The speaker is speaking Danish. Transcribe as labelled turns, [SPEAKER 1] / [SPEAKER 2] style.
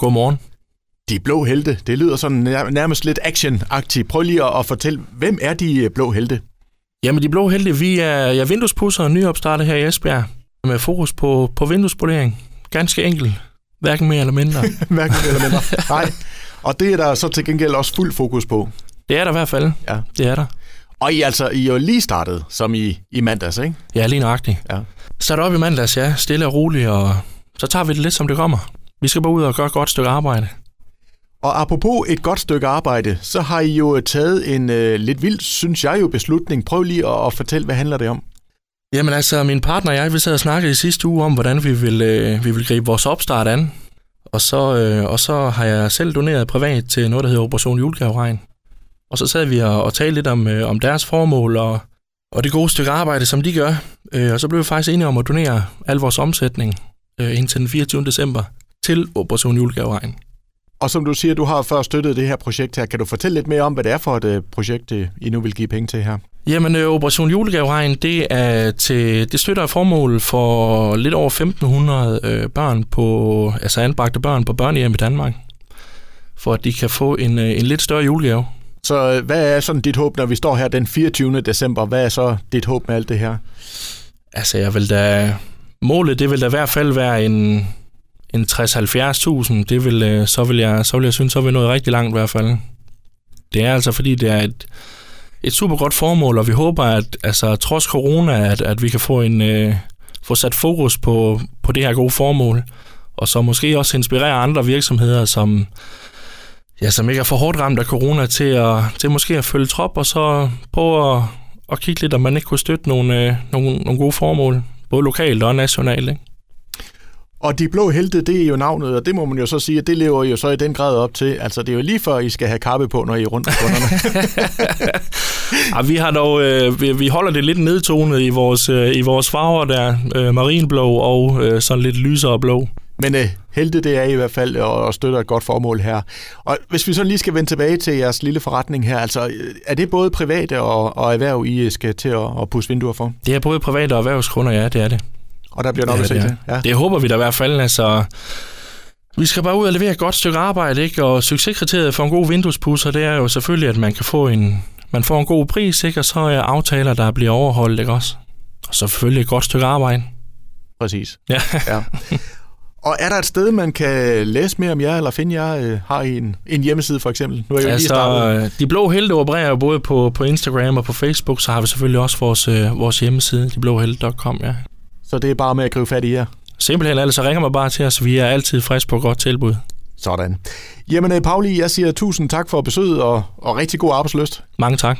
[SPEAKER 1] Godmorgen.
[SPEAKER 2] De blå helte, det lyder sådan nær- nærmest lidt action-agtigt. Prøv lige at, at fortælle, hvem er de øh, blå helte?
[SPEAKER 1] Jamen, de blå helte, vi er jeg er vinduespudser og nyopstartet her i Esbjerg, med fokus på, på vinduespolering. Ganske enkelt. Hverken mere eller mindre.
[SPEAKER 2] Hverken eller mindre. Nej. Og det er der så til gengæld også fuld fokus på.
[SPEAKER 1] det er der i hvert fald.
[SPEAKER 2] Ja.
[SPEAKER 1] Det er der.
[SPEAKER 2] Og I er altså, I er jo lige startet, som i, i mandags, ikke?
[SPEAKER 1] Ja, lige nøjagtigt.
[SPEAKER 2] Ja.
[SPEAKER 1] Start op i mandags, ja. Stille og roligt, og så tager vi det lidt, som det kommer. Vi skal bare ud og gøre et godt stykke arbejde.
[SPEAKER 2] Og apropos et godt stykke arbejde, så har I jo taget en øh, lidt vild, synes jeg jo, beslutning. Prøv lige at, at fortælle, hvad handler det om?
[SPEAKER 1] Jamen altså, min partner og jeg, vi sad og snakkede i sidste uge om, hvordan vi vil, øh, vi vil gribe vores opstart an. Og så, øh, og så har jeg selv doneret privat til noget, der hedder Operation Julegaveregn. Og så sad vi og, og talte lidt om, øh, om deres formål og, og det gode stykke arbejde, som de gør. Øh, og så blev vi faktisk enige om at donere al vores omsætning øh, indtil den 24. december til Operation Julegaveregn.
[SPEAKER 2] Og som du siger, du har før støttet det her projekt her. Kan du fortælle lidt mere om, hvad det er for et øh, projekt, øh, I nu vil give penge til her?
[SPEAKER 1] Jamen, øh, Operation Julegaveregn, det, er til, det støtter et formål for lidt over 1500 øh, børn på, altså anbragte børn på børnehjem i Danmark, for at de kan få en, øh, en lidt større julegave.
[SPEAKER 2] Så øh, hvad er sådan dit håb, når vi står her den 24. december? Hvad er så dit håb med alt det her?
[SPEAKER 1] Altså, jeg vil da, målet, det vil da i hvert fald være en, en 60-70.000, det vil, øh, så, vil jeg, så vil jeg synes, så er vi nået rigtig langt i hvert fald. Det er altså, fordi det er et, et super godt formål, og vi håber, at altså, trods corona, at, at vi kan få, en, øh, få sat fokus på, på det her gode formål, og så måske også inspirere andre virksomheder, som, ja, som ikke er for hårdt ramt af corona, til, at, til måske at følge trop, og så prøve at, at kigge lidt, om man ikke kunne støtte nogle, øh, nogle, nogle gode formål, både lokalt og nationalt. Ikke?
[SPEAKER 2] Og de blå helte, det er jo navnet, og det må man jo så sige, at det lever I jo så i den grad op til. Altså, det er jo lige før, I skal have kappe på, når I er rundt om kunderne.
[SPEAKER 1] Ej, vi, har dog, øh, vi, vi holder det lidt nedtonet i vores, øh, i vores farver der, øh, marinblå og øh, sådan lidt lysere blå.
[SPEAKER 2] Men øh, helte, det er I i hvert fald, og, og støtter et godt formål her. Og hvis vi så lige skal vende tilbage til jeres lille forretning her, altså, øh, er det både private og, og erhverv, I øh, skal til at, at pusse vinduer for?
[SPEAKER 1] Det er både private og erhvervskunder, ja, det er det.
[SPEAKER 2] Og der bliver nok
[SPEAKER 1] Ja,
[SPEAKER 2] at se
[SPEAKER 1] det er.
[SPEAKER 2] til. Ja.
[SPEAKER 1] Det håber vi da i hvert fald, altså... Vi skal bare ud og levere et godt stykke arbejde, ikke? Og succeskriteriet for en god vinduespusser, det er jo selvfølgelig, at man kan få en, man får en god pris, ikke? Og så er aftaler, der bliver overholdt, ikke også? Og selvfølgelig et godt stykke arbejde.
[SPEAKER 2] Præcis.
[SPEAKER 1] Ja.
[SPEAKER 2] ja. Og er der et sted, man kan læse mere om jer, eller finde jer? Øh, har I en, en hjemmeside, for eksempel? Nu er jeg jo lige startet.
[SPEAKER 1] Altså, øh, de blå helte opererer jo både på, på Instagram og på Facebook, så har vi selvfølgelig også vores, øh, vores hjemmeside, deblåhelte.com, ja.
[SPEAKER 2] Så det er bare med at gribe fat i jer.
[SPEAKER 1] Simpelthen, altså ringer man bare til os, vi er altid friske på et godt tilbud.
[SPEAKER 2] Sådan. Jamen, øh, Pauli, jeg siger tusind tak for besøget, og, og rigtig god arbejdsløst.
[SPEAKER 1] Mange tak.